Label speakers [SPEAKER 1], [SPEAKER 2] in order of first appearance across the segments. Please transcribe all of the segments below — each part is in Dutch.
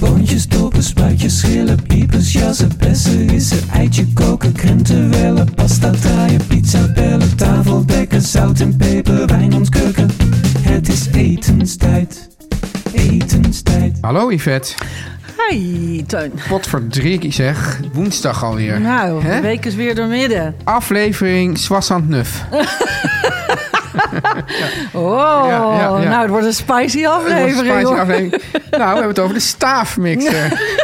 [SPEAKER 1] Boontjes, dopen, spuitjes, schillen, piepers, jassen, bessen, rissen, eitje koken, krenten wellen, pasta draaien, pizza bellen, tafel dekken, zout en peper, wijn ontkurken. Het is etenstijd, etenstijd.
[SPEAKER 2] Hallo Yvette.
[SPEAKER 3] Hi, Teun.
[SPEAKER 2] Potverdrikkie zeg. Woensdag alweer.
[SPEAKER 3] Nou,
[SPEAKER 2] Hè?
[SPEAKER 3] de week is weer doormidden.
[SPEAKER 2] Aflevering Swassand Nuf.
[SPEAKER 3] Oh,
[SPEAKER 2] Ja, ja, ja.
[SPEAKER 3] nou, het wordt een spicy aflevering.
[SPEAKER 2] Wat een spicy
[SPEAKER 3] hoor.
[SPEAKER 2] aflevering. Nou, we hebben het over de staafmixer.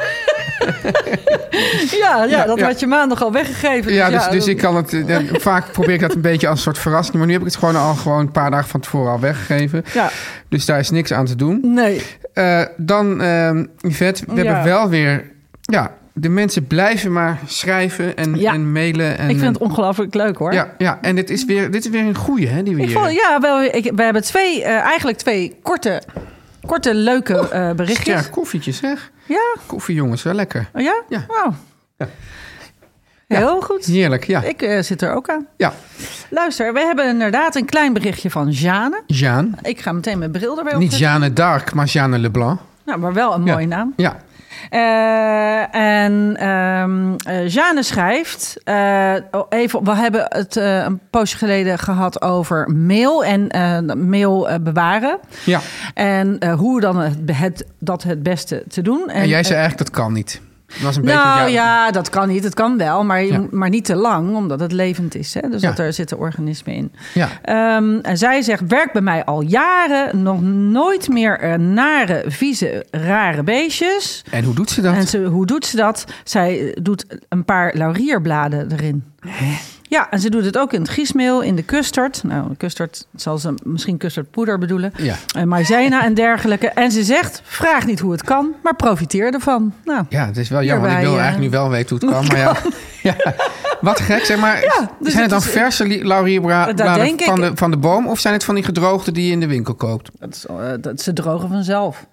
[SPEAKER 3] Ja, ja, dat
[SPEAKER 2] ja.
[SPEAKER 3] had je maandag al weggegeven.
[SPEAKER 2] Ja, dus, dus
[SPEAKER 3] dat-
[SPEAKER 2] ik kan het... eh, Vaak probeer ik dat een beetje als een soort verrassing. Maar nu heb ik het gewoon al gewoon een paar dagen van tevoren al weggegeven.
[SPEAKER 3] Ja,
[SPEAKER 2] Dus daar is niks aan te doen.
[SPEAKER 3] nee.
[SPEAKER 2] Eh, dan, ehm Yvette, we
[SPEAKER 3] Ja.
[SPEAKER 2] hebben wel weer... Ja, de mensen blijven maar schrijven en,
[SPEAKER 3] Ja.
[SPEAKER 2] en mailen. En,
[SPEAKER 3] ik vind het ongelooflijk leuk hoor.
[SPEAKER 2] eh, ja, ja, en dit is weer, dit is weer een goeie, hè, die we
[SPEAKER 3] ik
[SPEAKER 2] hier
[SPEAKER 3] vond, ja wel, ik, we hebben twee, eh, eigenlijk twee korte, korte leuke eh, berichtjes.
[SPEAKER 2] Sterk koffietje, zeg.
[SPEAKER 3] Ja?
[SPEAKER 2] Koffie, jongens, wel lekker.
[SPEAKER 3] Oh, ja?
[SPEAKER 2] Ja.
[SPEAKER 3] Wauw. Heel goed.
[SPEAKER 2] Heerlijk, ja.
[SPEAKER 3] Ik eh, zit er ook aan.
[SPEAKER 2] Ja,
[SPEAKER 3] Luister, we hebben inderdaad een klein berichtje van Jane.
[SPEAKER 2] Jeanne.
[SPEAKER 3] Ik ga meteen mijn bril erbij
[SPEAKER 2] Niet
[SPEAKER 3] opzetten.
[SPEAKER 2] Jeanne d'Arc, maar Jeanne Leblanc.
[SPEAKER 3] Nou, maar wel een mooie
[SPEAKER 2] ja.
[SPEAKER 3] naam.
[SPEAKER 2] Ja.
[SPEAKER 3] Eh, en ehm eh, Jeanne schrijft, eh, oh, even, we hebben het eh, een poosje geleden gehad over mail en eh, mail eh, bewaren.
[SPEAKER 2] ja.
[SPEAKER 3] En eh, hoe dan het, het- dat het beste te doen. eh,
[SPEAKER 2] En, jij zei eigenlijk, dat kan niet. Dat was een
[SPEAKER 3] nou
[SPEAKER 2] beetje...
[SPEAKER 3] ja, dat kan niet. Het kan wel, maar,
[SPEAKER 2] Ja.
[SPEAKER 3] maar niet te lang, omdat het levend is. Hè? Dus
[SPEAKER 2] Ja.
[SPEAKER 3] dat er zitten organismen in.
[SPEAKER 2] Ja.
[SPEAKER 3] Ehm, en zij zegt, werkt bij mij al jaren. Nog nooit meer eh, nare, vieze, rare beestjes.
[SPEAKER 2] En hoe doet ze dat?
[SPEAKER 3] En ze, hoe doet ze dat? Zij eh, doet een paar laurierbladen erin. Ja, en ze doet het ook in het giesmeel, in de custard. Nou, de custard zal ze misschien custardpoeder bedoelen.
[SPEAKER 2] Ja.
[SPEAKER 3] En maizena en dergelijke. En ze zegt, vraag niet hoe het kan, maar profiteer ervan. Nou,
[SPEAKER 2] Ja, het is wel jammer.
[SPEAKER 3] Hierbij,
[SPEAKER 2] ik wil
[SPEAKER 3] eh,
[SPEAKER 2] eigenlijk nu wel weten hoe het kan. Maar ja. ja. Wat gek, zeg maar.
[SPEAKER 3] dus
[SPEAKER 2] zijn het dan
[SPEAKER 3] het is-
[SPEAKER 2] verse li- laurierbladen
[SPEAKER 3] Dat denk ik.
[SPEAKER 2] van de, van de boom? Of zijn het van die gedroogde die je in de winkel koopt?
[SPEAKER 3] dat, is, eh, dat ze drogen vanzelf.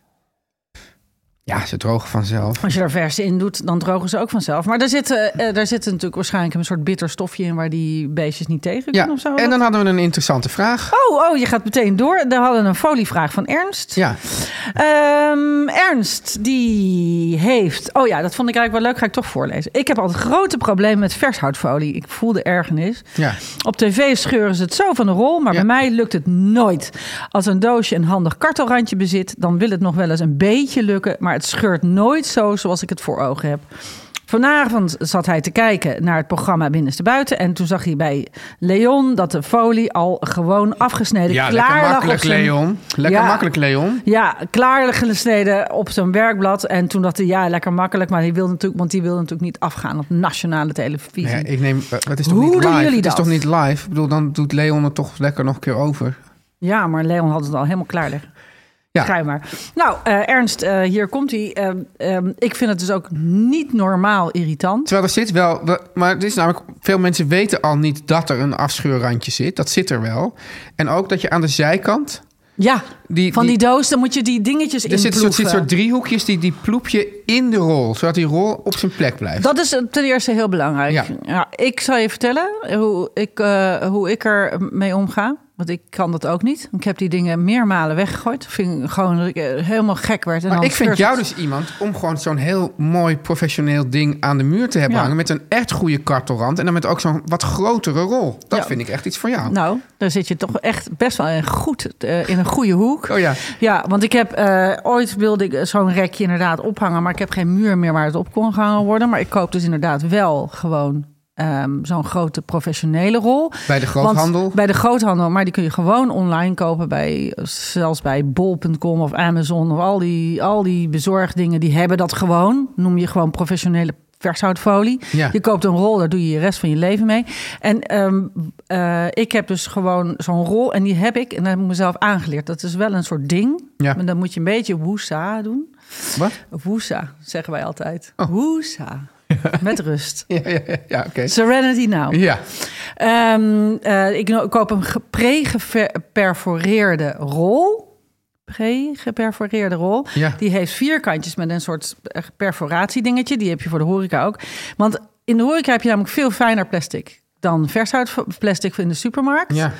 [SPEAKER 2] Ja, ze drogen vanzelf.
[SPEAKER 3] Als je daar verse in doet, dan drogen ze ook vanzelf. Maar daar zit, eh, eh, daar zit natuurlijk waarschijnlijk een soort bitter stofje in... waar die beestjes niet tegen kunnen
[SPEAKER 2] Ja.
[SPEAKER 3] of zo.
[SPEAKER 2] En dan hadden we een interessante vraag.
[SPEAKER 3] Oh, oh, je gaat meteen door. We hadden een folievraag van Ernst.
[SPEAKER 2] Ja.
[SPEAKER 3] Ehm, Ernst, die heeft. Oh ja, dat vond ik eigenlijk wel leuk. Ga ik toch voorlezen. Ik heb altijd grote problemen met vershoutfolie. Ik voel de ergernis.
[SPEAKER 2] Ja.
[SPEAKER 3] Op tv scheuren ze het zo van de rol, maar
[SPEAKER 2] Ja.
[SPEAKER 3] bij mij lukt het nooit. Als een doosje een handig kartelrandje bezit, dan wil het nog wel eens een beetje lukken. Maar het scheurt nooit zo zoals ik het voor ogen heb. Vanavond zat hij te kijken naar het programma Binnenstebuiten. En toen zag hij bij Leon dat de folie al gewoon afgesneden
[SPEAKER 2] Ja,
[SPEAKER 3] klaar
[SPEAKER 2] lekker
[SPEAKER 3] lag op
[SPEAKER 2] makkelijk,
[SPEAKER 3] zijn-
[SPEAKER 2] Leon. Lekker
[SPEAKER 3] Ja.
[SPEAKER 2] makkelijk, Leon.
[SPEAKER 3] ja, klaargesneden op zijn werkblad. En toen dacht hij, ja, lekker makkelijk. Maar die wilde natuurlijk, want die wilde natuurlijk niet afgaan op nationale televisie.
[SPEAKER 2] Nee, ik neem, eh, het is toch
[SPEAKER 3] Hoe
[SPEAKER 2] niet
[SPEAKER 3] doen
[SPEAKER 2] live?
[SPEAKER 3] jullie
[SPEAKER 2] het is
[SPEAKER 3] dat?
[SPEAKER 2] toch niet live? Ik bedoel, dan doet Leon het toch lekker nog een keer over.
[SPEAKER 3] Ja, maar Leon had het al helemaal klaar liggen.
[SPEAKER 2] Ja.
[SPEAKER 3] Ga je maar. Nou, eh, Ernst, eh, hier komt hij. Ehm, ehm, ik vind het dus ook niet normaal irritant.
[SPEAKER 2] Terwijl er zit wel, we- maar het is namelijk, veel mensen weten al niet dat er een afscheurrandje zit. Dat zit er wel. En ook dat je aan de zijkant,
[SPEAKER 3] Ja,
[SPEAKER 2] Die-
[SPEAKER 3] van die,
[SPEAKER 2] die-
[SPEAKER 3] doos, dan moet je die dingetjes in
[SPEAKER 2] er zitten soort, zit soort driehoekjes die, die ploep je in de rol, zodat die rol op zijn plek blijft.
[SPEAKER 3] Dat is eh, ten eerste heel belangrijk.
[SPEAKER 2] Ja.
[SPEAKER 3] Ja. ik zal je vertellen hoe ik, eh, hoe ik er mee omga. Want ik kan dat ook niet. Ik heb die dingen meermalen weggegooid. Vind ik gewoon dat ik eh, helemaal gek werd. En
[SPEAKER 2] Maar
[SPEAKER 3] dan
[SPEAKER 2] ik vind
[SPEAKER 3] scheurt
[SPEAKER 2] jou
[SPEAKER 3] het.
[SPEAKER 2] dus iemand om gewoon zo'n heel mooi professioneel ding aan de muur te hebben
[SPEAKER 3] Ja.
[SPEAKER 2] hangen. Met een echt goede kartelrand. En dan met ook zo'n wat grotere rol. Dat
[SPEAKER 3] Ja.
[SPEAKER 2] vind ik echt iets voor jou.
[SPEAKER 3] Nou, daar zit je toch echt best wel in, goed, eh, in een goede hoek.
[SPEAKER 2] Oh ja.
[SPEAKER 3] Ja, want ik heb eh, ooit wilde ik zo'n rekje inderdaad ophangen, maar ik heb geen muur meer waar het op kon gehangen worden. Maar ik koop dus inderdaad wel gewoon ehm, zo'n grote professionele rol.
[SPEAKER 2] Bij de groothandel?
[SPEAKER 3] Want bij de groothandel, maar die kun je gewoon online kopen bij zelfs bij bol.com of Amazon of al die al die bezorgdingen die hebben dat gewoon. Noem je gewoon professionele vershoutfolie.
[SPEAKER 2] Ja.
[SPEAKER 3] Je koopt een rol, daar doe je de rest van je leven mee. En ehm, eh, ik heb dus gewoon zo'n rol en die heb ik en dat heb ik mezelf aangeleerd. Dat is wel een soort ding,
[SPEAKER 2] Ja.
[SPEAKER 3] maar dan moet je een beetje woesa doen.
[SPEAKER 2] Wat?
[SPEAKER 3] Woesa, zeggen wij altijd.
[SPEAKER 2] Oh.
[SPEAKER 3] Woesa, met rust.
[SPEAKER 2] Ja, ja, ja, ja oké.
[SPEAKER 3] Serenity now.
[SPEAKER 2] Ja.
[SPEAKER 3] Ehm, eh, ik no- koop een ge- pre-geperforeerde rol. Pre-geperforeerde rol.
[SPEAKER 2] Ja.
[SPEAKER 3] Die heeft vierkantjes met een soort eh, perforatiedingetje. Die heb je voor de horeca ook. Want in de horeca heb je namelijk veel fijner plastic dan vershoutplastic in de supermarkt.
[SPEAKER 2] ja.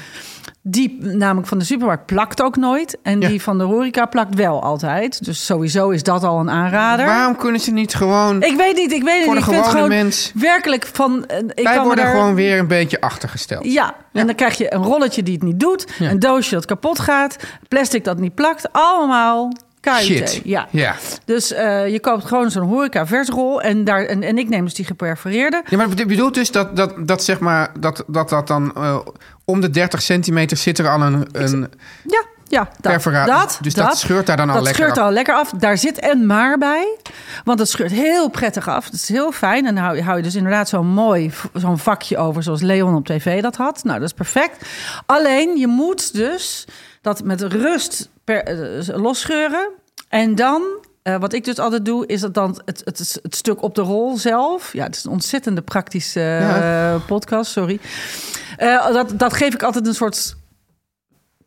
[SPEAKER 3] Die mm, namelijk van de supermarkt plakt ook nooit. En
[SPEAKER 2] Ja.
[SPEAKER 3] die van de horeca plakt wel altijd. Dus sowieso is dat al een aanrader.
[SPEAKER 2] Waarom kunnen ze niet gewoon...
[SPEAKER 3] Ik weet niet, ik weet het
[SPEAKER 2] Voor de
[SPEAKER 3] niet. Ik vind het
[SPEAKER 2] gewone
[SPEAKER 3] gewoon
[SPEAKER 2] mens.
[SPEAKER 3] werkelijk van... eh, Ik
[SPEAKER 2] Wij
[SPEAKER 3] kan me
[SPEAKER 2] worden
[SPEAKER 3] daar-
[SPEAKER 2] gewoon weer een beetje achtergesteld.
[SPEAKER 3] ja, en dan krijg je een rolletje die het niet doet,
[SPEAKER 2] Ja.
[SPEAKER 3] een doosje dat kapot gaat, plastic dat niet plakt, allemaal KIT.
[SPEAKER 2] Shit.
[SPEAKER 3] Ja.
[SPEAKER 2] ja.
[SPEAKER 3] Dus eh, je koopt gewoon zo'n horeca versrol en, daar, en, en ik neem dus die geperforeerde.
[SPEAKER 2] Ja, maar je bedoelt dus dat dat, dat, zeg maar, dat, dat, dat dan eh, om de 30 centimeter zit er al een, een
[SPEAKER 3] Ja, ja. Dat,
[SPEAKER 2] Perfora-
[SPEAKER 3] dat,
[SPEAKER 2] dus dat scheurt daar dan al
[SPEAKER 3] dat
[SPEAKER 2] lekker
[SPEAKER 3] scheurt
[SPEAKER 2] af.
[SPEAKER 3] al lekker af. Daar zit en maar bij. Want het scheurt heel prettig af. Dat is heel fijn. En dan hou, je- hou je dus inderdaad zo'n mooi v- zo'n vakje over... zoals Leon op tv dat had. Nou, dat is perfect. Alleen, je moet dus dat met rust per, eh, losscheuren. En dan... eh, wat ik dus altijd doe, is dat dan het, het, het stuk op de rol zelf. Ja, het is een ontzettende praktische eh, podcast, sorry. Eh, dat, dat geef ik altijd een soort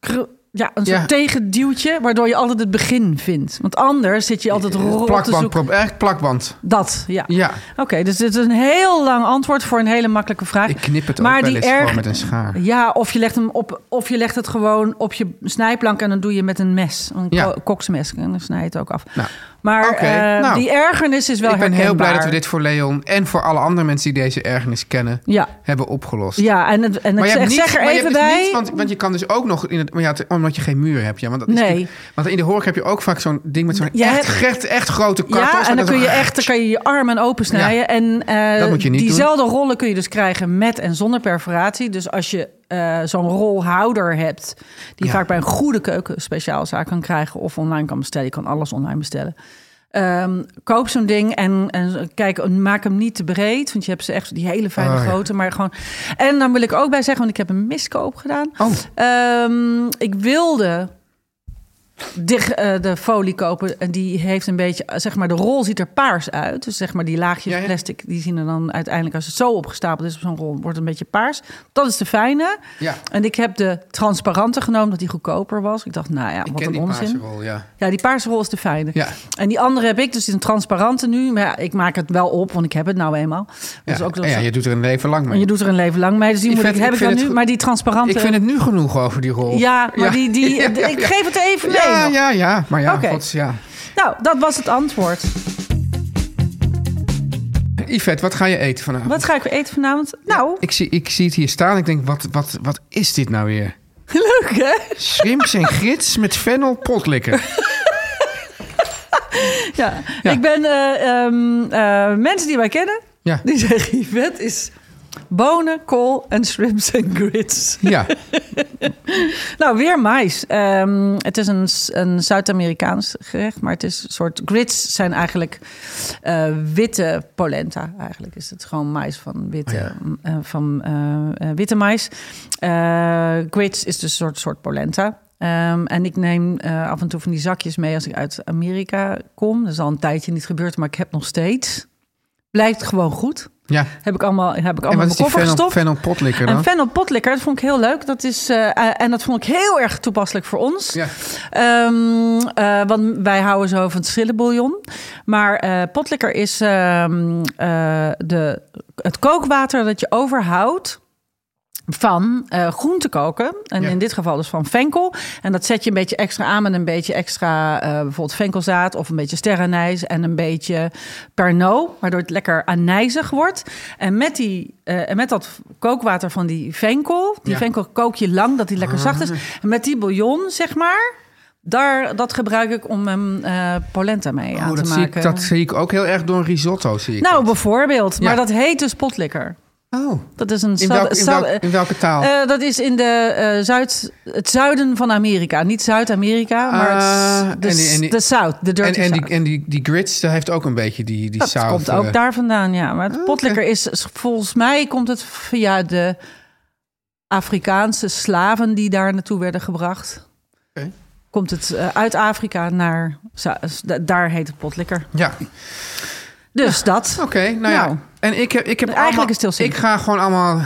[SPEAKER 3] kru- ja, een soort
[SPEAKER 2] Ja.
[SPEAKER 3] tegenduwtje, waardoor je altijd het begin vindt. Want anders zit je altijd rot te
[SPEAKER 2] plakband...
[SPEAKER 3] zoeken.
[SPEAKER 2] pro- Echt plakband.
[SPEAKER 3] Dat, ja.
[SPEAKER 2] Ja.
[SPEAKER 3] Oké, dus dit is een heel lang antwoord voor een hele makkelijke vraag.
[SPEAKER 2] Ik knip het
[SPEAKER 3] maar
[SPEAKER 2] ook wel
[SPEAKER 3] die
[SPEAKER 2] eens
[SPEAKER 3] erg...
[SPEAKER 2] gewoon met een schaar.
[SPEAKER 3] Ja, of je, legt hem op, of je legt het gewoon op je snijplank en dan doe je met een mes. Een
[SPEAKER 2] Ja.
[SPEAKER 3] ko- koksmes. En dan snij je het ook af.
[SPEAKER 2] Nou,
[SPEAKER 3] maar
[SPEAKER 2] oké,
[SPEAKER 3] eh,
[SPEAKER 2] nou.
[SPEAKER 3] die ergernis is wel
[SPEAKER 2] ik ben heel blij dat we
[SPEAKER 3] herkenbaar.
[SPEAKER 2] dit voor Leon en voor alle andere mensen die deze ergernis kennen,
[SPEAKER 3] Ja,
[SPEAKER 2] hebben opgelost.
[SPEAKER 3] ja en, het, en ik
[SPEAKER 2] je
[SPEAKER 3] zeg,
[SPEAKER 2] hebt niet-
[SPEAKER 3] zeg er
[SPEAKER 2] maar je
[SPEAKER 3] even
[SPEAKER 2] hebt dus
[SPEAKER 3] bij...
[SPEAKER 2] niet- want, want je kan dus ook nog... In het, maar ja, het- omdat je geen muur hebt. Ja, want, dat is
[SPEAKER 3] Nee.
[SPEAKER 2] natuurlijk- want in de horeca heb je ook vaak zo'n ding met zo'n
[SPEAKER 3] Je
[SPEAKER 2] echt,
[SPEAKER 3] hebt-
[SPEAKER 2] echt, echt grote kartels.
[SPEAKER 3] Ja, en dan
[SPEAKER 2] dat-
[SPEAKER 3] kun je echt dan kan je, je armen open snijden.
[SPEAKER 2] Ja,
[SPEAKER 3] en eh,
[SPEAKER 2] dat moet je niet doen.
[SPEAKER 3] diezelfde rollen kun je dus krijgen met en zonder perforatie. Dus als je eh, zo'n rolhouder hebt, die je
[SPEAKER 2] Ja.
[SPEAKER 3] vaak bij een goede keuken speciaalzaak kan krijgen of online kan bestellen. Je kan alles online bestellen. Ehm, koop zo'n ding en, en kijk, en maak hem niet te breed. Want je hebt ze echt die hele fijne
[SPEAKER 2] Oh, ja.
[SPEAKER 3] grootte. Maar gewoon. En dan wil ik ook bij zeggen, want ik heb een miskoop gedaan.
[SPEAKER 2] Oh.
[SPEAKER 3] Ehm, ik wilde dig, eh, de folie kopen. En die heeft een beetje, eh, zeg maar, de rol ziet er paars uit. Dus zeg maar, die laagjes
[SPEAKER 2] Ja, ja.
[SPEAKER 3] plastic, die zien er dan uiteindelijk, als het zo opgestapeld is op zo'n rol, wordt het een beetje paars. Dat is de fijne.
[SPEAKER 2] Ja.
[SPEAKER 3] En ik heb de transparante genomen, dat die goedkoper was. Ik dacht, nou ja,
[SPEAKER 2] Ik
[SPEAKER 3] wat
[SPEAKER 2] ken
[SPEAKER 3] een
[SPEAKER 2] die
[SPEAKER 3] onzin.
[SPEAKER 2] paarse rol, ja.
[SPEAKER 3] Ja, die paarse rol is de fijne.
[SPEAKER 2] Ja.
[SPEAKER 3] En die andere heb ik, dus die is een transparante nu. Maar ja, ik maak het wel op, want ik heb het nou eenmaal.
[SPEAKER 2] Ja,
[SPEAKER 3] Dus ook dat
[SPEAKER 2] en ja, je doet er een leven lang
[SPEAKER 3] en
[SPEAKER 2] mee.
[SPEAKER 3] je doet er een leven lang mee, dus die
[SPEAKER 2] Ik
[SPEAKER 3] moet
[SPEAKER 2] vind-
[SPEAKER 3] ik, heb
[SPEAKER 2] ik
[SPEAKER 3] ik
[SPEAKER 2] vind het
[SPEAKER 3] dan nu.
[SPEAKER 2] goed.
[SPEAKER 3] Maar die transparante...
[SPEAKER 2] ik vind het nu genoeg over die rol.
[SPEAKER 3] Ja, maar die... die
[SPEAKER 2] Ja, ja,
[SPEAKER 3] Ik
[SPEAKER 2] ja.
[SPEAKER 3] geef het even mee.
[SPEAKER 2] Ja,
[SPEAKER 3] nog.
[SPEAKER 2] ja, ja. Maar ja,
[SPEAKER 3] Oké.
[SPEAKER 2] gods, ja.
[SPEAKER 3] Nou, dat was het antwoord.
[SPEAKER 2] Yvette, wat ga je eten vanavond?
[SPEAKER 3] Wat ga ik weer eten vanavond? Nou,
[SPEAKER 2] Ik, zie, ik zie het hier staan. Ik denk, wat, wat, wat is dit nou weer?
[SPEAKER 3] leuk hè?
[SPEAKER 2] Shrimps en grits met fennel potlikker.
[SPEAKER 3] Ja.
[SPEAKER 2] Ja.
[SPEAKER 3] Ik ben eh, ehm, eh, mensen die wij kennen,
[SPEAKER 2] Ja.
[SPEAKER 3] die zeggen Yvette is bonen, kool en shrimps en grits.
[SPEAKER 2] Ja,
[SPEAKER 3] Nou, weer mais. Ehm, het is een, s- een Zuid-Amerikaans gerecht, maar het is een soort grits zijn eigenlijk eh, witte polenta. Eigenlijk is het gewoon mais van witte,
[SPEAKER 2] Oh ja.
[SPEAKER 3] m, eh, van, eh, eh, witte mais. Eh, grits is dus een soort, soort polenta. Ehm, en ik neem eh, af en toe van die zakjes mee als ik uit Amerika kom. Dat is al een tijdje niet gebeurd, maar ik heb nog steeds. Blijft gewoon goed.
[SPEAKER 2] ja.
[SPEAKER 3] Heb ik allemaal, heb ik
[SPEAKER 2] En
[SPEAKER 3] allemaal
[SPEAKER 2] wat
[SPEAKER 3] in
[SPEAKER 2] is
[SPEAKER 3] mijn
[SPEAKER 2] die
[SPEAKER 3] koffer
[SPEAKER 2] fennel,
[SPEAKER 3] gestopt.
[SPEAKER 2] fennel potlikker dan?
[SPEAKER 3] En fennel potlikker, dat vond ik heel leuk. Dat is, eh, eh, en dat vond ik heel erg toepasselijk voor ons.
[SPEAKER 2] Ja.
[SPEAKER 3] Ehm, eh, want wij houden zo van het schillenbouillon. Maar eh, potlikker is ehm, eh, de, het kookwater dat je overhoudt... van eh groente koken. En
[SPEAKER 2] Ja.
[SPEAKER 3] in dit geval dus van venkel. En dat zet je een beetje extra aan met een beetje extra eh, bijvoorbeeld venkelzaad of een beetje sterrenijs en een beetje pernod, waardoor het lekker anijzig wordt. En met, die, eh, en met dat kookwater van die venkel, die
[SPEAKER 2] Ja. Ah.
[SPEAKER 3] venkel kook je lang, dat die lekker zacht is. En met die bouillon, zeg maar, daar, dat gebruik ik om hem eh, polenta mee aan
[SPEAKER 2] Oh, dat,
[SPEAKER 3] te
[SPEAKER 2] zie
[SPEAKER 3] maken.
[SPEAKER 2] ik, dat zie ik ook heel erg door een risotto. Zie ik
[SPEAKER 3] nou,
[SPEAKER 2] dat.
[SPEAKER 3] bijvoorbeeld. Maar
[SPEAKER 2] Ja.
[SPEAKER 3] dat heet dus potlikker.
[SPEAKER 2] oh.
[SPEAKER 3] Dat is een
[SPEAKER 2] in,
[SPEAKER 3] sal-
[SPEAKER 2] welk- in,
[SPEAKER 3] sal-
[SPEAKER 2] welk- in welke taal?
[SPEAKER 3] eh, dat is in de, eh, Zuid, het zuiden van Amerika. Niet Zuid-Amerika, maar het s-
[SPEAKER 2] Ah,
[SPEAKER 3] de,
[SPEAKER 2] en die- en die-
[SPEAKER 3] de South, de
[SPEAKER 2] en
[SPEAKER 3] Dirty
[SPEAKER 2] en, die,
[SPEAKER 3] South.
[SPEAKER 2] en die, die grits, dat heeft ook een beetje die, die
[SPEAKER 3] dat
[SPEAKER 2] zout.
[SPEAKER 3] komt
[SPEAKER 2] eh, Ah,
[SPEAKER 3] ook daar vandaan, ja. Maar het potlikker is, is- volgens mij komt het via de Afrikaanse slaven die daar naartoe werden gebracht.
[SPEAKER 2] Oké.
[SPEAKER 3] Komt het eh, uit Afrika naar, Zu- da- daar heet het potlikker.
[SPEAKER 2] Ja,
[SPEAKER 3] Dus dat.
[SPEAKER 2] oké. nou ja.
[SPEAKER 3] Nou.
[SPEAKER 2] En ik heb, ik heb
[SPEAKER 3] Eigenlijk
[SPEAKER 2] allemaal-
[SPEAKER 3] is het heel
[SPEAKER 2] Ik
[SPEAKER 3] simpel.
[SPEAKER 2] ga gewoon allemaal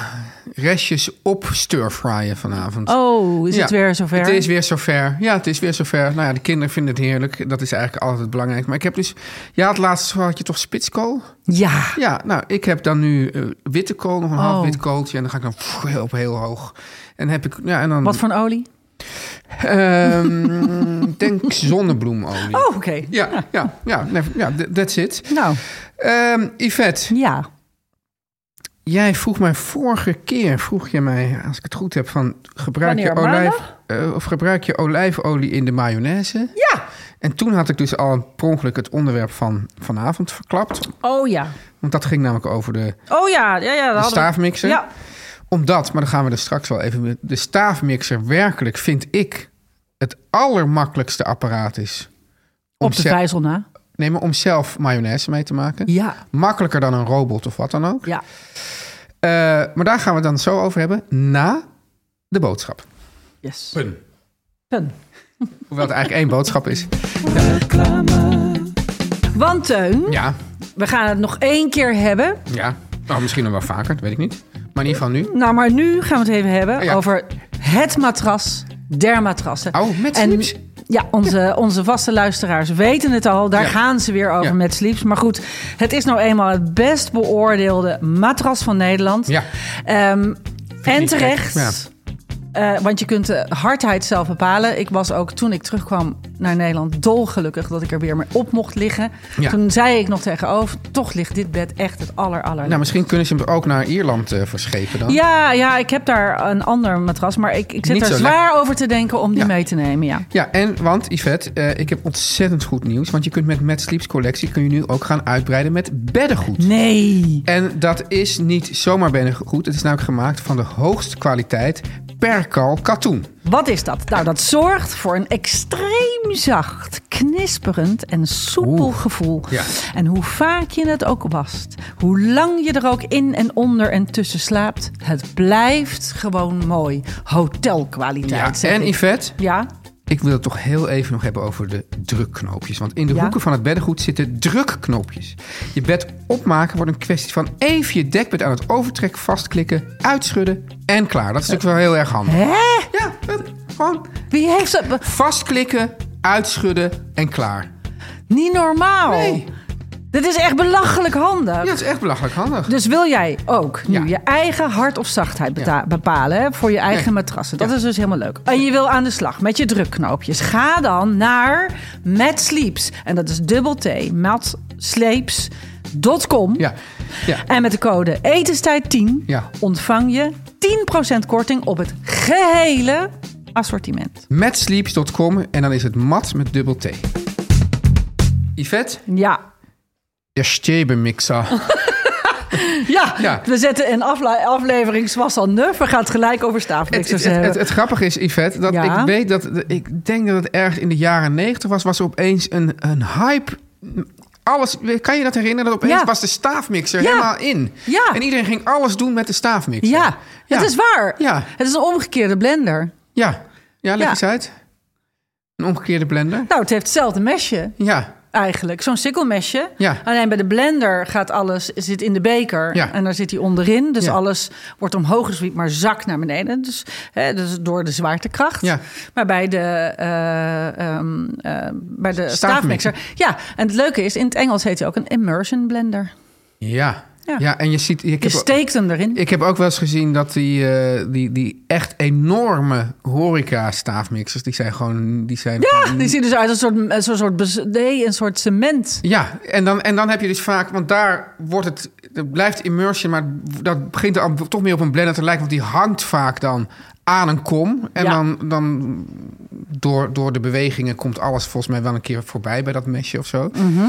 [SPEAKER 2] restjes op stir-fryen vanavond.
[SPEAKER 3] Oh, is
[SPEAKER 2] Ja,
[SPEAKER 3] het weer zover?
[SPEAKER 2] Het is weer zover. Ja, het is weer zover. Nou ja, de kinderen vinden het heerlijk. Dat is eigenlijk altijd belangrijk. Maar ik heb dus... Ja, het laatste had je toch spitskool?
[SPEAKER 3] Ja.
[SPEAKER 2] Ja, nou, ik heb dan nu eh, witte kool, nog een
[SPEAKER 3] Oh.
[SPEAKER 2] half wit kooltje. En dan ga ik dan pff, heel, op heel hoog. En heb ik... Ja, en dan...
[SPEAKER 3] Wat voor een olie?
[SPEAKER 2] Ehm, denk zonnebloemolie.
[SPEAKER 3] Oh, oké.
[SPEAKER 2] Ja, ja, ja, nee, ja, th- that's it.
[SPEAKER 3] Nou,
[SPEAKER 2] Ehm, Yvette,
[SPEAKER 3] ja.
[SPEAKER 2] jij vroeg mij vorige keer, vroeg je mij, als ik het goed heb, van gebruik je
[SPEAKER 3] Wanneer,
[SPEAKER 2] olijf, eh, of gebruik je olijfolie in de mayonaise?
[SPEAKER 3] Ja.
[SPEAKER 2] En toen had ik dus al per ongeluk het onderwerp van vanavond verklapt,
[SPEAKER 3] Oh ja.
[SPEAKER 2] want dat ging namelijk over de,
[SPEAKER 3] Oh ja, ja, ja. dat
[SPEAKER 2] de
[SPEAKER 3] hadden we-
[SPEAKER 2] staafmixer.
[SPEAKER 3] Ja,
[SPEAKER 2] Omdat, maar dan gaan we er straks wel even mee- de staafmixer werkelijk vind ik het allermakkelijkste apparaat is. om
[SPEAKER 3] op de
[SPEAKER 2] zelf-
[SPEAKER 3] vijzel na.
[SPEAKER 2] Nee, maar om zelf mayonaise mee te maken.
[SPEAKER 3] Ja.
[SPEAKER 2] Makkelijker dan een robot of wat dan ook.
[SPEAKER 3] Ja.
[SPEAKER 2] Eh, maar daar gaan we het dan zo over hebben na de boodschap.
[SPEAKER 3] Yes.
[SPEAKER 2] Pun.
[SPEAKER 3] Pun.
[SPEAKER 2] Hoewel het eigenlijk één boodschap is.
[SPEAKER 3] Want Teun,
[SPEAKER 2] Ja,
[SPEAKER 3] we gaan het nog één keer hebben.
[SPEAKER 2] ja. Nou, misschien nog wel vaker, dat weet ik niet. Maar in ieder geval nu.
[SPEAKER 3] Nou, maar nu gaan we het even hebben
[SPEAKER 2] Oh ja.
[SPEAKER 3] over het matras der matrassen.
[SPEAKER 2] Oh, met
[SPEAKER 3] En-
[SPEAKER 2] slips.
[SPEAKER 3] Ja, onze, onze vaste luisteraars weten het al. Daar
[SPEAKER 2] Ja.
[SPEAKER 3] gaan ze weer over
[SPEAKER 2] Ja.
[SPEAKER 3] met Sleeps. Maar goed, het is nou eenmaal het best beoordeelde matras van Nederland.
[SPEAKER 2] Ja.
[SPEAKER 3] Ehm, en
[SPEAKER 2] niet gek.
[SPEAKER 3] terecht.
[SPEAKER 2] Ja.
[SPEAKER 3] Eh, want je kunt de hardheid zelf bepalen. Ik was ook toen ik terugkwam naar Nederland dolgelukkig dat ik er weer mee op mocht liggen.
[SPEAKER 2] Ja.
[SPEAKER 3] Toen zei ik nog tegenover, toch ligt dit bed echt het aller, aller.
[SPEAKER 2] Nou, misschien kunnen ze hem ook naar Ierland eh, verschepen dan.
[SPEAKER 3] ja, ja, ik heb daar een ander matras, maar ik, ik zit
[SPEAKER 2] Niet
[SPEAKER 3] er
[SPEAKER 2] zo
[SPEAKER 3] zwaar over te denken om die
[SPEAKER 2] Ja.
[SPEAKER 3] mee te nemen. Ja.
[SPEAKER 2] Ja, en want Yvette, eh, ik heb ontzettend goed nieuws. Want je kunt met Mad Sleeps collectie kun je nu ook gaan uitbreiden met beddengoed.
[SPEAKER 3] Nee.
[SPEAKER 2] En dat is niet zomaar beddengoed. Het is namelijk gemaakt van de hoogste kwaliteit perkal katoen.
[SPEAKER 3] Wat is dat? Nou, dat zorgt voor een extreem zacht, knisperend en soepel
[SPEAKER 2] Oeh,
[SPEAKER 3] gevoel.
[SPEAKER 2] ja.
[SPEAKER 3] En hoe vaak je het ook wast, hoe lang je er ook in en onder en tussen slaapt, het blijft gewoon mooi. Hotelkwaliteit.
[SPEAKER 2] Ja,
[SPEAKER 3] zeg
[SPEAKER 2] en
[SPEAKER 3] ik.
[SPEAKER 2] Yvette,
[SPEAKER 3] Ja,
[SPEAKER 2] ik wil het toch heel even nog hebben over de drukknoopjes. Want in de
[SPEAKER 3] Ja.
[SPEAKER 2] hoeken van het beddengoed zitten drukknoopjes. Je bed opmaken wordt een kwestie van even je dekbed aan het overtrek vastklikken, uitschudden en klaar. Dat is natuurlijk wel heel erg handig.
[SPEAKER 3] hè?
[SPEAKER 2] Ja, hup, gewoon
[SPEAKER 3] Wie heeft dat?
[SPEAKER 2] vastklikken, uitschudden en klaar.
[SPEAKER 3] Niet normaal.
[SPEAKER 2] Nee.
[SPEAKER 3] Dit is echt belachelijk handig.
[SPEAKER 2] Ja, dat is echt belachelijk handig.
[SPEAKER 3] Dus wil jij ook nu
[SPEAKER 2] Ja.
[SPEAKER 3] je eigen hard of zachtheid beta- bepalen hè, voor je eigen
[SPEAKER 2] Nee.
[SPEAKER 3] matrassen? Dat is dus helemaal leuk. En je wil aan de slag met je drukknoopjes. Ga dan naar Mad Sleeps. En dat is dubbel T. Madsleeps.com.
[SPEAKER 2] Ja, ja.
[SPEAKER 3] En met de code etenstijd10
[SPEAKER 2] Ja.
[SPEAKER 3] ontvang je 10% korting op het gehele assortiment.
[SPEAKER 2] Matsleeps.com en dan is het mat met dubbel T. Yvette,
[SPEAKER 3] Ja.
[SPEAKER 2] de
[SPEAKER 3] Oh,
[SPEAKER 2] stebenmixer.
[SPEAKER 3] Ja,
[SPEAKER 2] Ja.
[SPEAKER 3] we zetten een afle- aflevering zoals al nuf. We gaan het gelijk over
[SPEAKER 2] Het,
[SPEAKER 3] staafmixers
[SPEAKER 2] het, het, het,
[SPEAKER 3] hebben.
[SPEAKER 2] het grappige is, Yvette, dat
[SPEAKER 3] Ja.
[SPEAKER 2] ik weet dat... Ik denk dat het ergens in de jaren negentig was... was er opeens een, een hype... Alles, kan je dat herinneren? Dat opeens
[SPEAKER 3] Ja.
[SPEAKER 2] was de staafmixer
[SPEAKER 3] Ja.
[SPEAKER 2] helemaal in.
[SPEAKER 3] Ja.
[SPEAKER 2] En iedereen ging alles doen met de staafmixer.
[SPEAKER 3] Ja,
[SPEAKER 2] Ja.
[SPEAKER 3] het is waar.
[SPEAKER 2] Ja.
[SPEAKER 3] Het is een omgekeerde blender.
[SPEAKER 2] Ja, ja leg
[SPEAKER 3] Ja.
[SPEAKER 2] eens uit. Een omgekeerde blender.
[SPEAKER 3] Nou, het heeft hetzelfde mesje
[SPEAKER 2] Ja,
[SPEAKER 3] eigenlijk. Zo'n sikkelmesje.
[SPEAKER 2] Ja.
[SPEAKER 3] Alleen bij de blender gaat alles, zit in de beker.
[SPEAKER 2] Ja.
[SPEAKER 3] En daar zit hij onderin. Dus
[SPEAKER 2] Ja.
[SPEAKER 3] alles wordt omhoog gezwiept, maar zakt naar beneden. Dus, hè, dus door de zwaartekracht.
[SPEAKER 2] Ja.
[SPEAKER 3] Maar bij de, eh, ehm, eh, bij de staafmixer. Ja, en het leuke is, in het Engels heet hij ook een immersion blender.
[SPEAKER 2] ja.
[SPEAKER 3] Ja.
[SPEAKER 2] Ja, en je ziet... Ik
[SPEAKER 3] Je
[SPEAKER 2] heb,
[SPEAKER 3] steekt hem erin.
[SPEAKER 2] ik heb ook wel eens gezien dat die, eh, die, die echt enorme horeca-staafmixers... die zijn gewoon... Die zijn
[SPEAKER 3] ja,
[SPEAKER 2] gewoon-
[SPEAKER 3] die ziet dus uit als een soort, eh, zo'n soort, bes- nee, een soort cement.
[SPEAKER 2] Ja, en dan, en dan heb je dus vaak, want daar wordt het, het blijft immersion, maar dat begint al toch meer op een blender te lijken, want die hangt vaak dan aan een kom. En
[SPEAKER 3] Ja.
[SPEAKER 2] dan, dan door, door de bewegingen komt alles volgens mij wel een keer voorbij bij dat mesje of zo.
[SPEAKER 3] Mhm.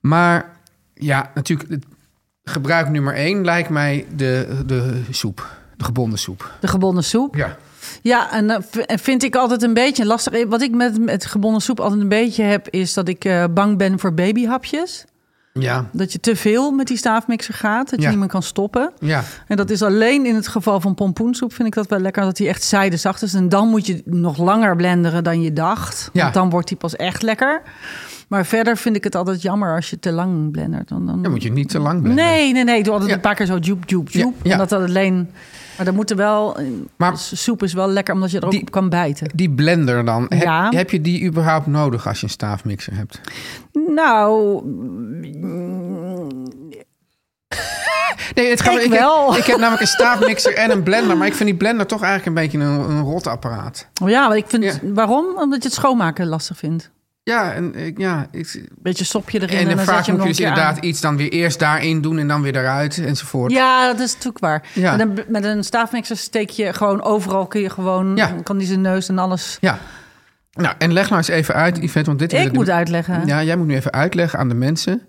[SPEAKER 2] Maar ja, natuurlijk, het gebruik nummer één lijkt mij de, de soep, de gebonden soep.
[SPEAKER 3] De gebonden soep.
[SPEAKER 2] Ja.
[SPEAKER 3] Ja, en dat v- en vind ik altijd een beetje lastig. Eh, Wat ik met, met gebonden soep altijd een beetje heb, is dat ik eh, bang ben voor babyhapjes.
[SPEAKER 2] Ja,
[SPEAKER 3] Dat je te veel met die staafmixer gaat, dat je
[SPEAKER 2] Ja.
[SPEAKER 3] niet meer kan stoppen.
[SPEAKER 2] ja.
[SPEAKER 3] En dat is alleen in het geval van pompoensoep vind ik dat wel lekker. Dat die echt zijdezacht is. En dan moet je nog langer blenderen dan je dacht.
[SPEAKER 2] Ja.
[SPEAKER 3] Want dan wordt die pas echt lekker. Maar verder vind ik het altijd jammer als je te lang blendert. Dan, dan...
[SPEAKER 2] Dan moet je niet te lang blenden.
[SPEAKER 3] Nee, nee, nee. Ik doe altijd
[SPEAKER 2] Ja.
[SPEAKER 3] een paar keer zo joep, joep,
[SPEAKER 2] Ja,
[SPEAKER 3] joep.
[SPEAKER 2] ja.
[SPEAKER 3] Omdat dat alleen... Maar dan moeten wel...
[SPEAKER 2] Maar-
[SPEAKER 3] Maar... Soep is wel lekker omdat je er ook
[SPEAKER 2] Die-
[SPEAKER 3] op kan bijten.
[SPEAKER 2] Die blender dan, heb,
[SPEAKER 3] Ja.
[SPEAKER 2] heb je die überhaupt nodig als je een staafmixer hebt?
[SPEAKER 3] Nou,
[SPEAKER 2] Nee, het gaat
[SPEAKER 3] Ik
[SPEAKER 2] ik heb-
[SPEAKER 3] wel.
[SPEAKER 2] Ik, heb namelijk een staafmixer en een blender. Maar ik vind die blender toch eigenlijk een beetje een, een rot apparaat.
[SPEAKER 3] ja, maar ik vind...
[SPEAKER 2] Ja.
[SPEAKER 3] Waarom? Omdat je het schoonmaken lastig vindt.
[SPEAKER 2] Ja, en, ik- ja, ik,
[SPEAKER 3] Beetje sopje erin en,
[SPEAKER 2] en,
[SPEAKER 3] dan zet
[SPEAKER 2] vaak
[SPEAKER 3] je hem
[SPEAKER 2] moet je dus
[SPEAKER 3] nog een keer aan.
[SPEAKER 2] inderdaad iets dan weer eerst daarin doen en dan weer eruit enzovoort.
[SPEAKER 3] Ja, dat is natuurlijk waar.
[SPEAKER 2] Ja.
[SPEAKER 3] Met, een, met een staafmixer steek je gewoon overal, kun je gewoon,
[SPEAKER 2] Ja.
[SPEAKER 3] kan die zijn neus en alles.
[SPEAKER 2] Ja. Nou, en leg nou eens even uit, Yvette, want dit
[SPEAKER 3] Ik
[SPEAKER 2] willen de-
[SPEAKER 3] moet uitleggen.
[SPEAKER 2] Ja, jij moet nu even uitleggen aan de mensen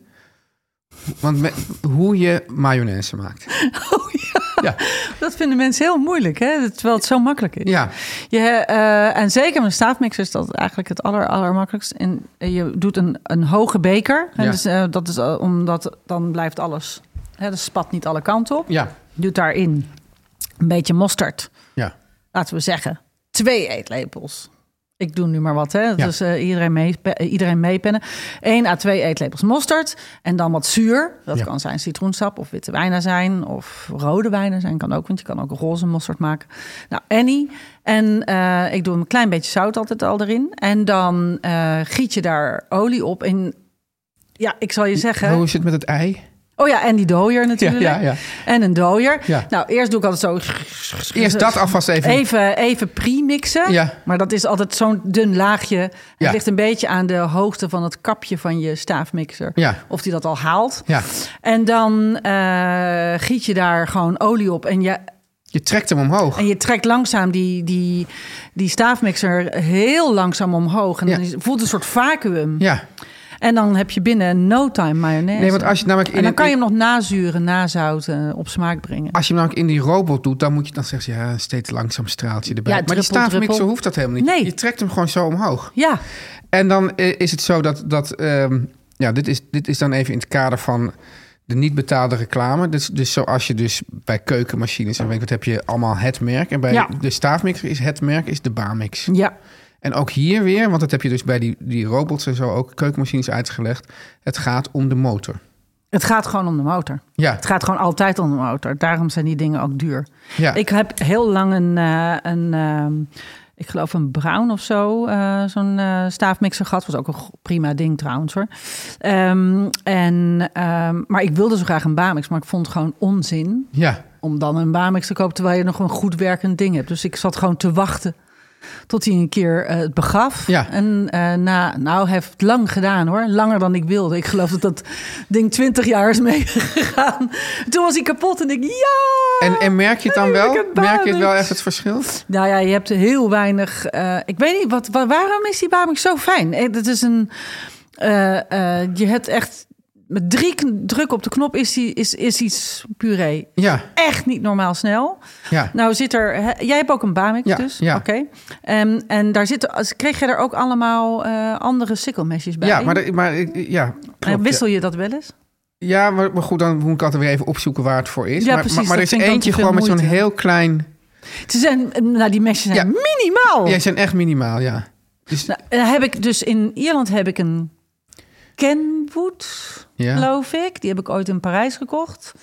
[SPEAKER 2] want me- hoe je mayonaise maakt.
[SPEAKER 3] Oh, ja.
[SPEAKER 2] Ja,
[SPEAKER 3] Dat vinden mensen heel moeilijk, hè? terwijl het zo makkelijk is.
[SPEAKER 2] ja.
[SPEAKER 3] Je, eh, en zeker met een staafmixer is dat eigenlijk het aller, allermakkelijkst. En eh, je doet een, een hoge beker. Hè?
[SPEAKER 2] Ja.
[SPEAKER 3] Dus, eh, dat is eh, omdat dan blijft alles, hè? dus spat niet alle kanten op.
[SPEAKER 2] ja.
[SPEAKER 3] Je doet daarin een beetje mosterd.
[SPEAKER 2] ja.
[SPEAKER 3] laten we zeggen, twee eetlepels. Ik doe nu maar wat, hè?
[SPEAKER 2] Ja.
[SPEAKER 3] Dus eh, iedereen, mee, pe- eh, iedereen meepennen. 1 à 2 eetlepels mosterd. En dan wat zuur. Dat
[SPEAKER 2] Ja.
[SPEAKER 3] kan zijn citroensap of witte wijnazijn. Of rode wijnazijn kan ook, want je kan ook roze mosterd maken. Nou, Annie. En eh, ik doe een klein beetje zout altijd al erin. En dan eh, giet je daar olie op. En ja, ik zal je zeggen...
[SPEAKER 2] Hoe is het met het ei?
[SPEAKER 3] Oh ja, en die dooier natuurlijk.
[SPEAKER 2] Ja, ja, ja.
[SPEAKER 3] En een dooier.
[SPEAKER 2] Ja.
[SPEAKER 3] Nou, eerst doe ik altijd zo...
[SPEAKER 2] Eerst dat alvast even.
[SPEAKER 3] Even, even pre-mixen.
[SPEAKER 2] Ja.
[SPEAKER 3] Maar dat is altijd zo'n dun laagje. Het
[SPEAKER 2] Ja.
[SPEAKER 3] ligt een beetje aan de hoogte van het kapje van je staafmixer.
[SPEAKER 2] Ja.
[SPEAKER 3] Of die dat al haalt.
[SPEAKER 2] Ja.
[SPEAKER 3] En dan eh, giet je daar gewoon olie op. En je,
[SPEAKER 2] Je trekt hem omhoog.
[SPEAKER 3] en je trekt langzaam die, die, die staafmixer heel langzaam omhoog. En
[SPEAKER 2] Ja.
[SPEAKER 3] dan is- voelt een soort vacuüm.
[SPEAKER 2] Ja.
[SPEAKER 3] En dan heb je binnen no time mayonaise.
[SPEAKER 2] Nee, want als je namelijk in
[SPEAKER 3] en dan
[SPEAKER 2] een-
[SPEAKER 3] kan je hem nog nazuren, nazouten, eh, op smaak brengen.
[SPEAKER 2] Als je hem namelijk in die robot doet, dan moet je dan zeggen, ja, een steeds langzaam straaltje erbij.
[SPEAKER 3] Ja,
[SPEAKER 2] maar die
[SPEAKER 3] druppel,
[SPEAKER 2] staafmixer
[SPEAKER 3] druppel.
[SPEAKER 2] hoeft dat helemaal niet.
[SPEAKER 3] Nee.
[SPEAKER 2] Je trekt hem gewoon zo omhoog.
[SPEAKER 3] Ja,
[SPEAKER 2] En dan eh, is het zo dat, dat ehm, ja, dit is, dit is dan even in het kader van de niet betaalde reclame. Dus, dus zoals je dus bij keukenmachines en weet ik wat heb je allemaal het merk. En bij
[SPEAKER 3] Ja.
[SPEAKER 2] de staafmixer is het merk is de baamix.
[SPEAKER 3] ja.
[SPEAKER 2] En ook hier weer, want dat heb je dus bij die, die robots en zo ook keukenmachines uitgelegd. Het gaat om de motor.
[SPEAKER 3] Het gaat gewoon om de motor.
[SPEAKER 2] Ja,
[SPEAKER 3] Het gaat gewoon altijd om de motor. Daarom zijn die dingen ook duur.
[SPEAKER 2] ja.
[SPEAKER 3] Ik heb heel lang een, eh, een ehm, ik geloof een Brown of zo, eh, zo'n eh, staafmixer gehad. Was ook een go- prima ding trouwens hoor. Ehm, en, ehm, maar ik wilde zo graag een Bamix, maar ik vond het gewoon onzin
[SPEAKER 2] ja.
[SPEAKER 3] om dan een Bamix te kopen terwijl je nog een goed werkend ding hebt. Dus ik zat gewoon te wachten tot hij een keer eh, het begaf.
[SPEAKER 2] Ja.
[SPEAKER 3] En eh, na, nou, hij heeft het lang gedaan hoor. Langer dan ik wilde. Ik geloof dat dat ding 20 jaar is meegegaan. Toen was hij kapot en ik, ja!
[SPEAKER 2] En, en merk je het dan wel?
[SPEAKER 3] Heerlijke
[SPEAKER 2] Merk je het wel
[SPEAKER 3] Bamix.
[SPEAKER 2] echt het verschil?
[SPEAKER 3] Nou ja, je hebt heel weinig... eh, ik weet niet, wat, wa- waarom is die Bamix zo fijn? Eh, Dat is een... eh, eh, je hebt echt... Met drie kn- druk op de knop is, die, is, is iets puree.
[SPEAKER 2] Ja,
[SPEAKER 3] Echt niet normaal snel.
[SPEAKER 2] ja.
[SPEAKER 3] Nou zit er, hè, jij hebt ook een Bamix
[SPEAKER 2] Ja,
[SPEAKER 3] dus,
[SPEAKER 2] ja.
[SPEAKER 3] oké. Ehm, en daar zitten, als- kreeg je er ook allemaal eh, andere sikkelmesjes bij?
[SPEAKER 2] Ja, maar, de- maar ik- ja,
[SPEAKER 3] En
[SPEAKER 2] klopt,
[SPEAKER 3] wissel je dat wel eens?
[SPEAKER 2] ja. Ja, maar, maar goed, dan moet ik altijd weer even opzoeken waar het voor is.
[SPEAKER 3] Ja,
[SPEAKER 2] maar,
[SPEAKER 3] precies,
[SPEAKER 2] maar, maar er
[SPEAKER 3] dat
[SPEAKER 2] is
[SPEAKER 3] vind ik dan
[SPEAKER 2] eentje
[SPEAKER 3] te veel
[SPEAKER 2] gewoon met zo'n
[SPEAKER 3] moeite.
[SPEAKER 2] heel klein...
[SPEAKER 3] Ze zijn, nou die mesjes zijn
[SPEAKER 2] Ja.
[SPEAKER 3] minimaal.
[SPEAKER 2] Ja, ze zijn echt minimaal, ja. Dus,
[SPEAKER 3] Oh. Nou, en dan heb ik dus in Ierland heb ik een Kenwood,
[SPEAKER 2] Ja.
[SPEAKER 3] geloof ik. Die heb ik ooit in Parijs gekocht.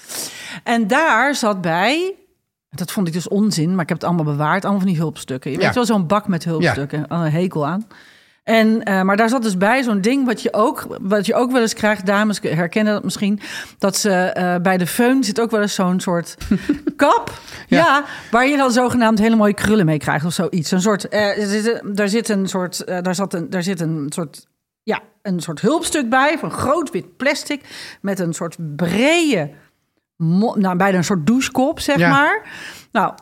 [SPEAKER 3] En daar zat bij, dat vond ik dus onzin, maar ik heb het allemaal bewaard, allemaal van die hulpstukken. Je
[SPEAKER 2] Ja.
[SPEAKER 3] hebt wel zo'n bak met hulpstukken, al een hekel aan. En, eh, maar daar zat dus bij zo'n ding wat je, ook, wat je ook wel eens krijgt. Dames herkennen dat misschien. Dat ze eh, bij de föhn zit ook wel eens zo'n soort kap. ja. waar je dan zogenaamd hele mooie krullen mee krijgt of zoiets. Een soort, eh, er zit een- daar zit een soort, eh, daar zat een, daar zit een soort, ja, een soort hulpstuk bij van groot wit plastic met een soort brede, mo- nou bijna een soort douchekop zeg
[SPEAKER 2] Ja.
[SPEAKER 3] maar. Nou,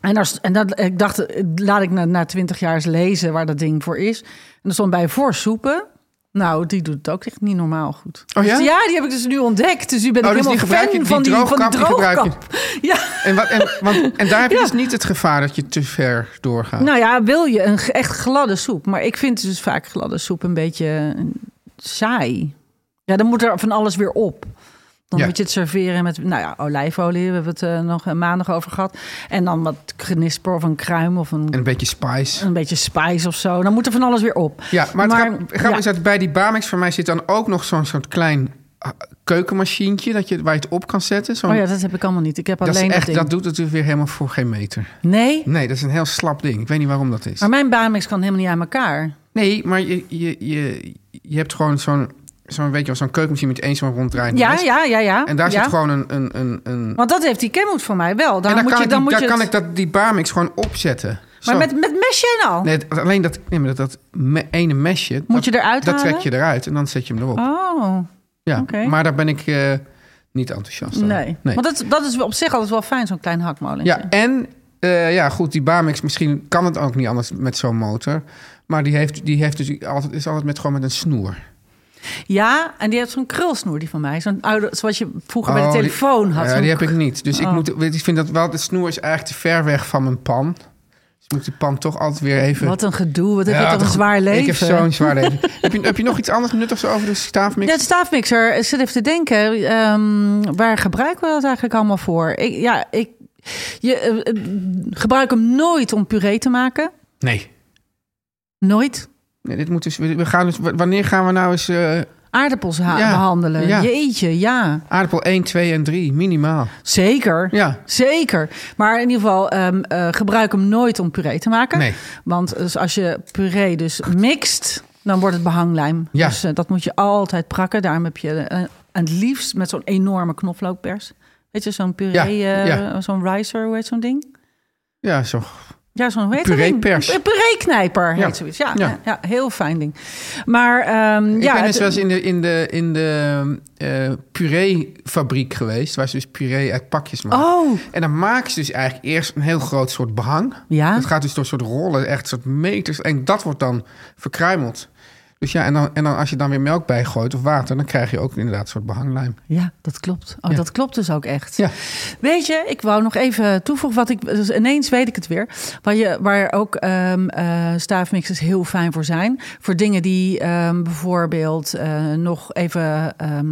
[SPEAKER 3] en, als, en dat, ik dacht, eh, laat ik na, na 20 jaar eens lezen waar dat ding voor is. En er stond bij voor soepen. Nou, die doet het ook echt niet normaal goed.
[SPEAKER 2] Oh ja?
[SPEAKER 3] Dus ja, die heb ik dus nu ontdekt. Dus nu ben
[SPEAKER 2] Oh,
[SPEAKER 3] ik
[SPEAKER 2] dus die
[SPEAKER 3] helemaal
[SPEAKER 2] gebruik je-
[SPEAKER 3] fan
[SPEAKER 2] die
[SPEAKER 3] van die, van die
[SPEAKER 2] droogkap, die gebruik je.
[SPEAKER 3] droogkap. Ja.
[SPEAKER 2] En, wat, en, want, en daar heb je
[SPEAKER 3] Ja.
[SPEAKER 2] dus niet het gevaar dat je te ver doorgaat.
[SPEAKER 3] Nou ja, wil je een ge- echt gladde soep? Maar ik vind dus vaak gladde soep een beetje eh, saai. Ja, dan moet er van alles weer op. Dan
[SPEAKER 2] Ja.
[SPEAKER 3] moet je het serveren met, nou ja, olijfolie. We hebben het eh, nog een maandag over gehad. En dan wat genisper of een kruim of een,
[SPEAKER 2] En een beetje spice.
[SPEAKER 3] een beetje spijs of zo. Dan moet er van alles weer op.
[SPEAKER 2] Ja, maar het grap- grappige
[SPEAKER 3] ja.
[SPEAKER 2] is dat bij die Bamex van mij zit dan ook nog zo'n soort klein ah, keukenmachientje dat je, waar je het op kan zetten. Zo'n-
[SPEAKER 3] Oh ja, dat heb ik allemaal niet. Ik heb
[SPEAKER 2] dat, is
[SPEAKER 3] alleen
[SPEAKER 2] echt,
[SPEAKER 3] dat ding.
[SPEAKER 2] dat doet het dus weer helemaal voor geen meter.
[SPEAKER 3] Nee,
[SPEAKER 2] Nee, dat is een heel slap ding. Ik weet niet waarom dat is.
[SPEAKER 3] maar mijn Bamix kan helemaal niet aan elkaar.
[SPEAKER 2] Nee, maar je, je, je, je hebt gewoon zo'n zo'n weet je wel, zo'n keukenmachine met één zo'n ronddraaiende
[SPEAKER 3] Ja,
[SPEAKER 2] mes.
[SPEAKER 3] ja, ja, ja.
[SPEAKER 2] En daar
[SPEAKER 3] ja.
[SPEAKER 2] zit gewoon een... een, een, een...
[SPEAKER 3] Want dat heeft die Kenwood voor mij wel. Dan
[SPEAKER 2] en dan
[SPEAKER 3] moet
[SPEAKER 2] kan,
[SPEAKER 3] je,
[SPEAKER 2] ik,
[SPEAKER 3] dan
[SPEAKER 2] die,
[SPEAKER 3] moet
[SPEAKER 2] daar
[SPEAKER 3] je
[SPEAKER 2] kan
[SPEAKER 3] het-
[SPEAKER 2] ik dat, die Bamix gewoon opzetten.
[SPEAKER 3] Maar
[SPEAKER 2] Zo.
[SPEAKER 3] met, met mesje en al.
[SPEAKER 2] Nee, het- alleen dat, nee, maar dat, dat me- ene mesje...
[SPEAKER 3] Moet je eruit
[SPEAKER 2] Dat trek
[SPEAKER 3] halen?
[SPEAKER 2] je eruit en dan zet je hem erop.
[SPEAKER 3] Oh,
[SPEAKER 2] ja.
[SPEAKER 3] oké.
[SPEAKER 2] Maar daar ben ik eh, niet enthousiast over.
[SPEAKER 3] nee. Want dat, dat is op zich altijd wel fijn, zo'n klein hakmolentje.
[SPEAKER 2] Ja, en eh, ja, goed, die Bamix, misschien kan het ook niet anders met zo'n motor. Maar die, heeft, die heeft dus altijd, is altijd met, gewoon met een snoer.
[SPEAKER 3] Ja, en die heeft zo'n krulsnoer, die van mij. Zo'n oude, zoals je vroeger bij
[SPEAKER 2] Oh,
[SPEAKER 3] de
[SPEAKER 2] die-
[SPEAKER 3] telefoon had.
[SPEAKER 2] Ja,
[SPEAKER 3] zo'n-
[SPEAKER 2] die heb ik niet. Dus ik,
[SPEAKER 3] Oh.
[SPEAKER 2] moet, weet- ik vind dat wel, de snoer is eigenlijk te ver weg van mijn pan. Dus ik moet die pan toch altijd weer even...
[SPEAKER 3] Wat een gedoe, wat heb
[SPEAKER 2] Ja,
[SPEAKER 3] je toch een
[SPEAKER 2] dat-
[SPEAKER 3] zwaar leven.
[SPEAKER 2] Ik heb zo'n zwaar leven. heb, je, heb je nog iets anders nuttigs over de staafmix?
[SPEAKER 3] Ja, de staafmixer. Ik zit even te denken, ehm, waar gebruiken we dat eigenlijk allemaal voor? Ik, ja, ik je, eh, eh, gebruik hem nooit om puree te maken.
[SPEAKER 2] Nee.
[SPEAKER 3] Nooit.
[SPEAKER 2] nee dit moet dus, we we gaan dus, w- wanneer gaan we nou eens eh,
[SPEAKER 3] Aardappels ha-
[SPEAKER 2] Ja,
[SPEAKER 3] behandelen.
[SPEAKER 2] ja.
[SPEAKER 3] Jeetje, ja.
[SPEAKER 2] aardappel 1, 2 en 3 minimaal?
[SPEAKER 3] Zeker.
[SPEAKER 2] Ja.
[SPEAKER 3] Zeker. Maar in ieder geval, ehm, eh, gebruik hem nooit om puree te maken.
[SPEAKER 2] Nee.
[SPEAKER 3] Want dus als je puree dus mixt, dan wordt het behanglijm.
[SPEAKER 2] Ja.
[SPEAKER 3] Dus eh, dat moet je altijd prakken. Daarom heb je eh, het liefst met zo'n enorme knoflookpers. Weet je, zo'n puree,
[SPEAKER 2] Ja,
[SPEAKER 3] eh,
[SPEAKER 2] ja.
[SPEAKER 3] zo'n ricer, hoe heet zo'n ding?
[SPEAKER 2] Ja, zo.
[SPEAKER 3] Ja, zo'n hoe heet dat ding?
[SPEAKER 2] Pureepers.
[SPEAKER 3] Een pureeknijper
[SPEAKER 2] Ja.
[SPEAKER 3] heet zoiets. Ja,
[SPEAKER 2] Ja.
[SPEAKER 3] ja. ja, heel fijn ding. Maar ehm,
[SPEAKER 2] Ik
[SPEAKER 3] ja,
[SPEAKER 2] ben
[SPEAKER 3] het-
[SPEAKER 2] dus wel eens in de, in de, in de eh puree-fabriek geweest, waar ze dus puree uit pakjes maken.
[SPEAKER 3] Oh,
[SPEAKER 2] En dan maken ze dus eigenlijk eerst een heel groot soort behang.
[SPEAKER 3] Ja.
[SPEAKER 2] Dat gaat dus door soort rollen, echt soort meters. En dat wordt dan verkruimeld. Dus ja, en, dan, en dan als je dan weer melk bij gooit of water, dan krijg je ook inderdaad een soort behanglijm.
[SPEAKER 3] ja, dat klopt. Oh,
[SPEAKER 2] Ja.
[SPEAKER 3] dat klopt dus ook echt.
[SPEAKER 2] Ja,
[SPEAKER 3] Weet je, ik wou nog even toevoegen wat ik. Dus ineens weet ik het weer. Waar, je, waar ook ehm, eh, staafmixers heel fijn voor zijn. Voor dingen die ehm, bijvoorbeeld eh, nog even. ehm,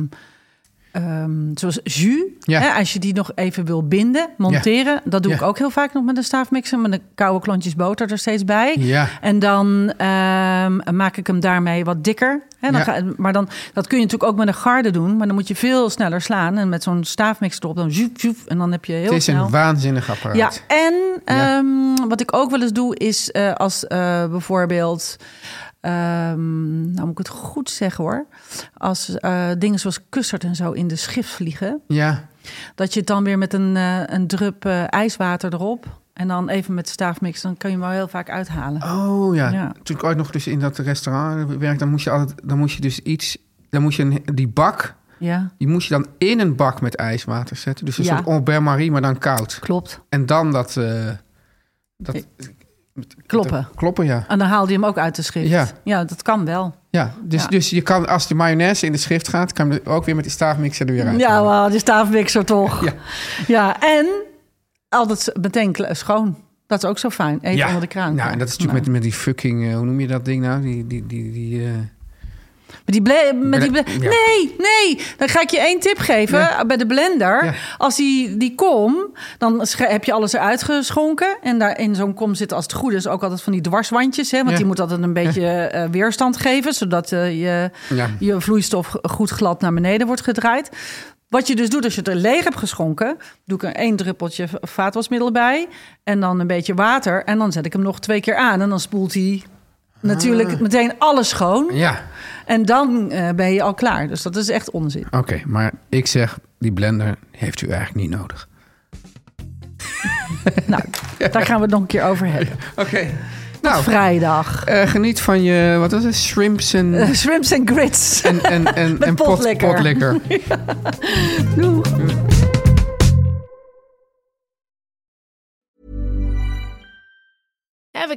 [SPEAKER 3] ehm, zoals jus,
[SPEAKER 2] Ja.
[SPEAKER 3] hè, als je die nog even wil binden, monteren. Dat doe
[SPEAKER 2] Ja.
[SPEAKER 3] ik ook heel vaak nog met een staafmixer. Met een koude klontjes boter er steeds bij.
[SPEAKER 2] Ja.
[SPEAKER 3] En dan ehm, maak ik hem daarmee wat dikker. Hè, dan
[SPEAKER 2] Ja.
[SPEAKER 3] ga- maar dan, dat kun je natuurlijk ook met een garde doen. Maar dan moet je veel sneller slaan. En met zo'n staafmix erop, dan zoep, zoep. En dan heb je heel
[SPEAKER 2] het is
[SPEAKER 3] snel...
[SPEAKER 2] een waanzinnig apparaat.
[SPEAKER 3] Ja, en
[SPEAKER 2] Ja.
[SPEAKER 3] ehm, wat ik ook wel eens doe is eh, als eh, bijvoorbeeld, ehm, nou moet ik het goed zeggen hoor, als eh, dingen zoals kussert en zo in de schif vliegen,
[SPEAKER 2] Ja.
[SPEAKER 3] dat je het dan weer met een, eh, een drup eh, ijswater erop en dan even met staafmix, dan kan je hem wel heel vaak uithalen.
[SPEAKER 2] Oh ja.
[SPEAKER 3] Ja.
[SPEAKER 2] Toen ik ooit nog dus in dat restaurant werkte, dan moest je altijd, dan moest je dus iets, dan moest je een, die bak,
[SPEAKER 3] Ja,
[SPEAKER 2] die moest je dan in een bak met ijswater zetten. Dus een
[SPEAKER 3] Ja.
[SPEAKER 2] soort Albert Marie, maar dan koud.
[SPEAKER 3] klopt.
[SPEAKER 2] En dan dat, eh, dat
[SPEAKER 3] Kloppen.
[SPEAKER 2] dat- kloppen, ja.
[SPEAKER 3] En dan haalde je hem ook uit de schrift.
[SPEAKER 2] Ja.
[SPEAKER 3] ja dat kan wel.
[SPEAKER 2] Ja, dus,
[SPEAKER 3] Ja.
[SPEAKER 2] dus je kan, als de mayonaise in de schrift gaat, kan je hem ook weer met die staafmixer er weer uit.
[SPEAKER 3] Ja,
[SPEAKER 2] halen.
[SPEAKER 3] wel, die staafmixer toch.
[SPEAKER 2] Ja.
[SPEAKER 3] Ja. en altijd meteen kle- schoon. Dat is ook zo fijn. Eten onder de kraan.
[SPEAKER 2] Ja, en dat is natuurlijk
[SPEAKER 3] Nou.
[SPEAKER 2] met, met die fucking, eh, hoe noem je dat ding nou? Die, die, die, die, eh,
[SPEAKER 3] Met die ble- met die
[SPEAKER 2] Ble-
[SPEAKER 3] ble-
[SPEAKER 2] ja.
[SPEAKER 3] Nee, nee. Dan ga ik je één tip geven.
[SPEAKER 2] Ja.
[SPEAKER 3] Bij de blender.
[SPEAKER 2] Ja.
[SPEAKER 3] Als die, die kom, dan sche- heb je alles eruit geschonken. En daar in zo'n kom zitten, als het goed is, ook altijd van die dwarswandjes. Hè? Want
[SPEAKER 2] Ja.
[SPEAKER 3] die moet altijd een beetje eh, weerstand geven. Zodat eh, je,
[SPEAKER 2] Ja.
[SPEAKER 3] je vloeistof goed glad naar beneden wordt gedraaid. Wat je dus doet als je het er leeg hebt geschonken, doe ik er één druppeltje va- vaatwasmiddel bij en dan een beetje water en dan zet ik hem nog twee keer aan en dan spoelt hij natuurlijk meteen alles schoon.
[SPEAKER 2] Ah. Ja,
[SPEAKER 3] En dan eh, ben je al klaar. Dus dat is echt onzin.
[SPEAKER 2] oké. maar ik zeg, die blender heeft u eigenlijk niet nodig.
[SPEAKER 3] Nou, daar gaan we het nog een keer over hebben.
[SPEAKER 2] Oké. Nou,
[SPEAKER 3] Vrijdag.
[SPEAKER 2] eh, geniet van je, wat was het, shrimps en,
[SPEAKER 3] Eh, shrimps en grits.
[SPEAKER 2] en, en, en,
[SPEAKER 3] Met
[SPEAKER 2] en pot-
[SPEAKER 3] potlikker.
[SPEAKER 2] potlikker.
[SPEAKER 3] Doeg.
[SPEAKER 4] Ever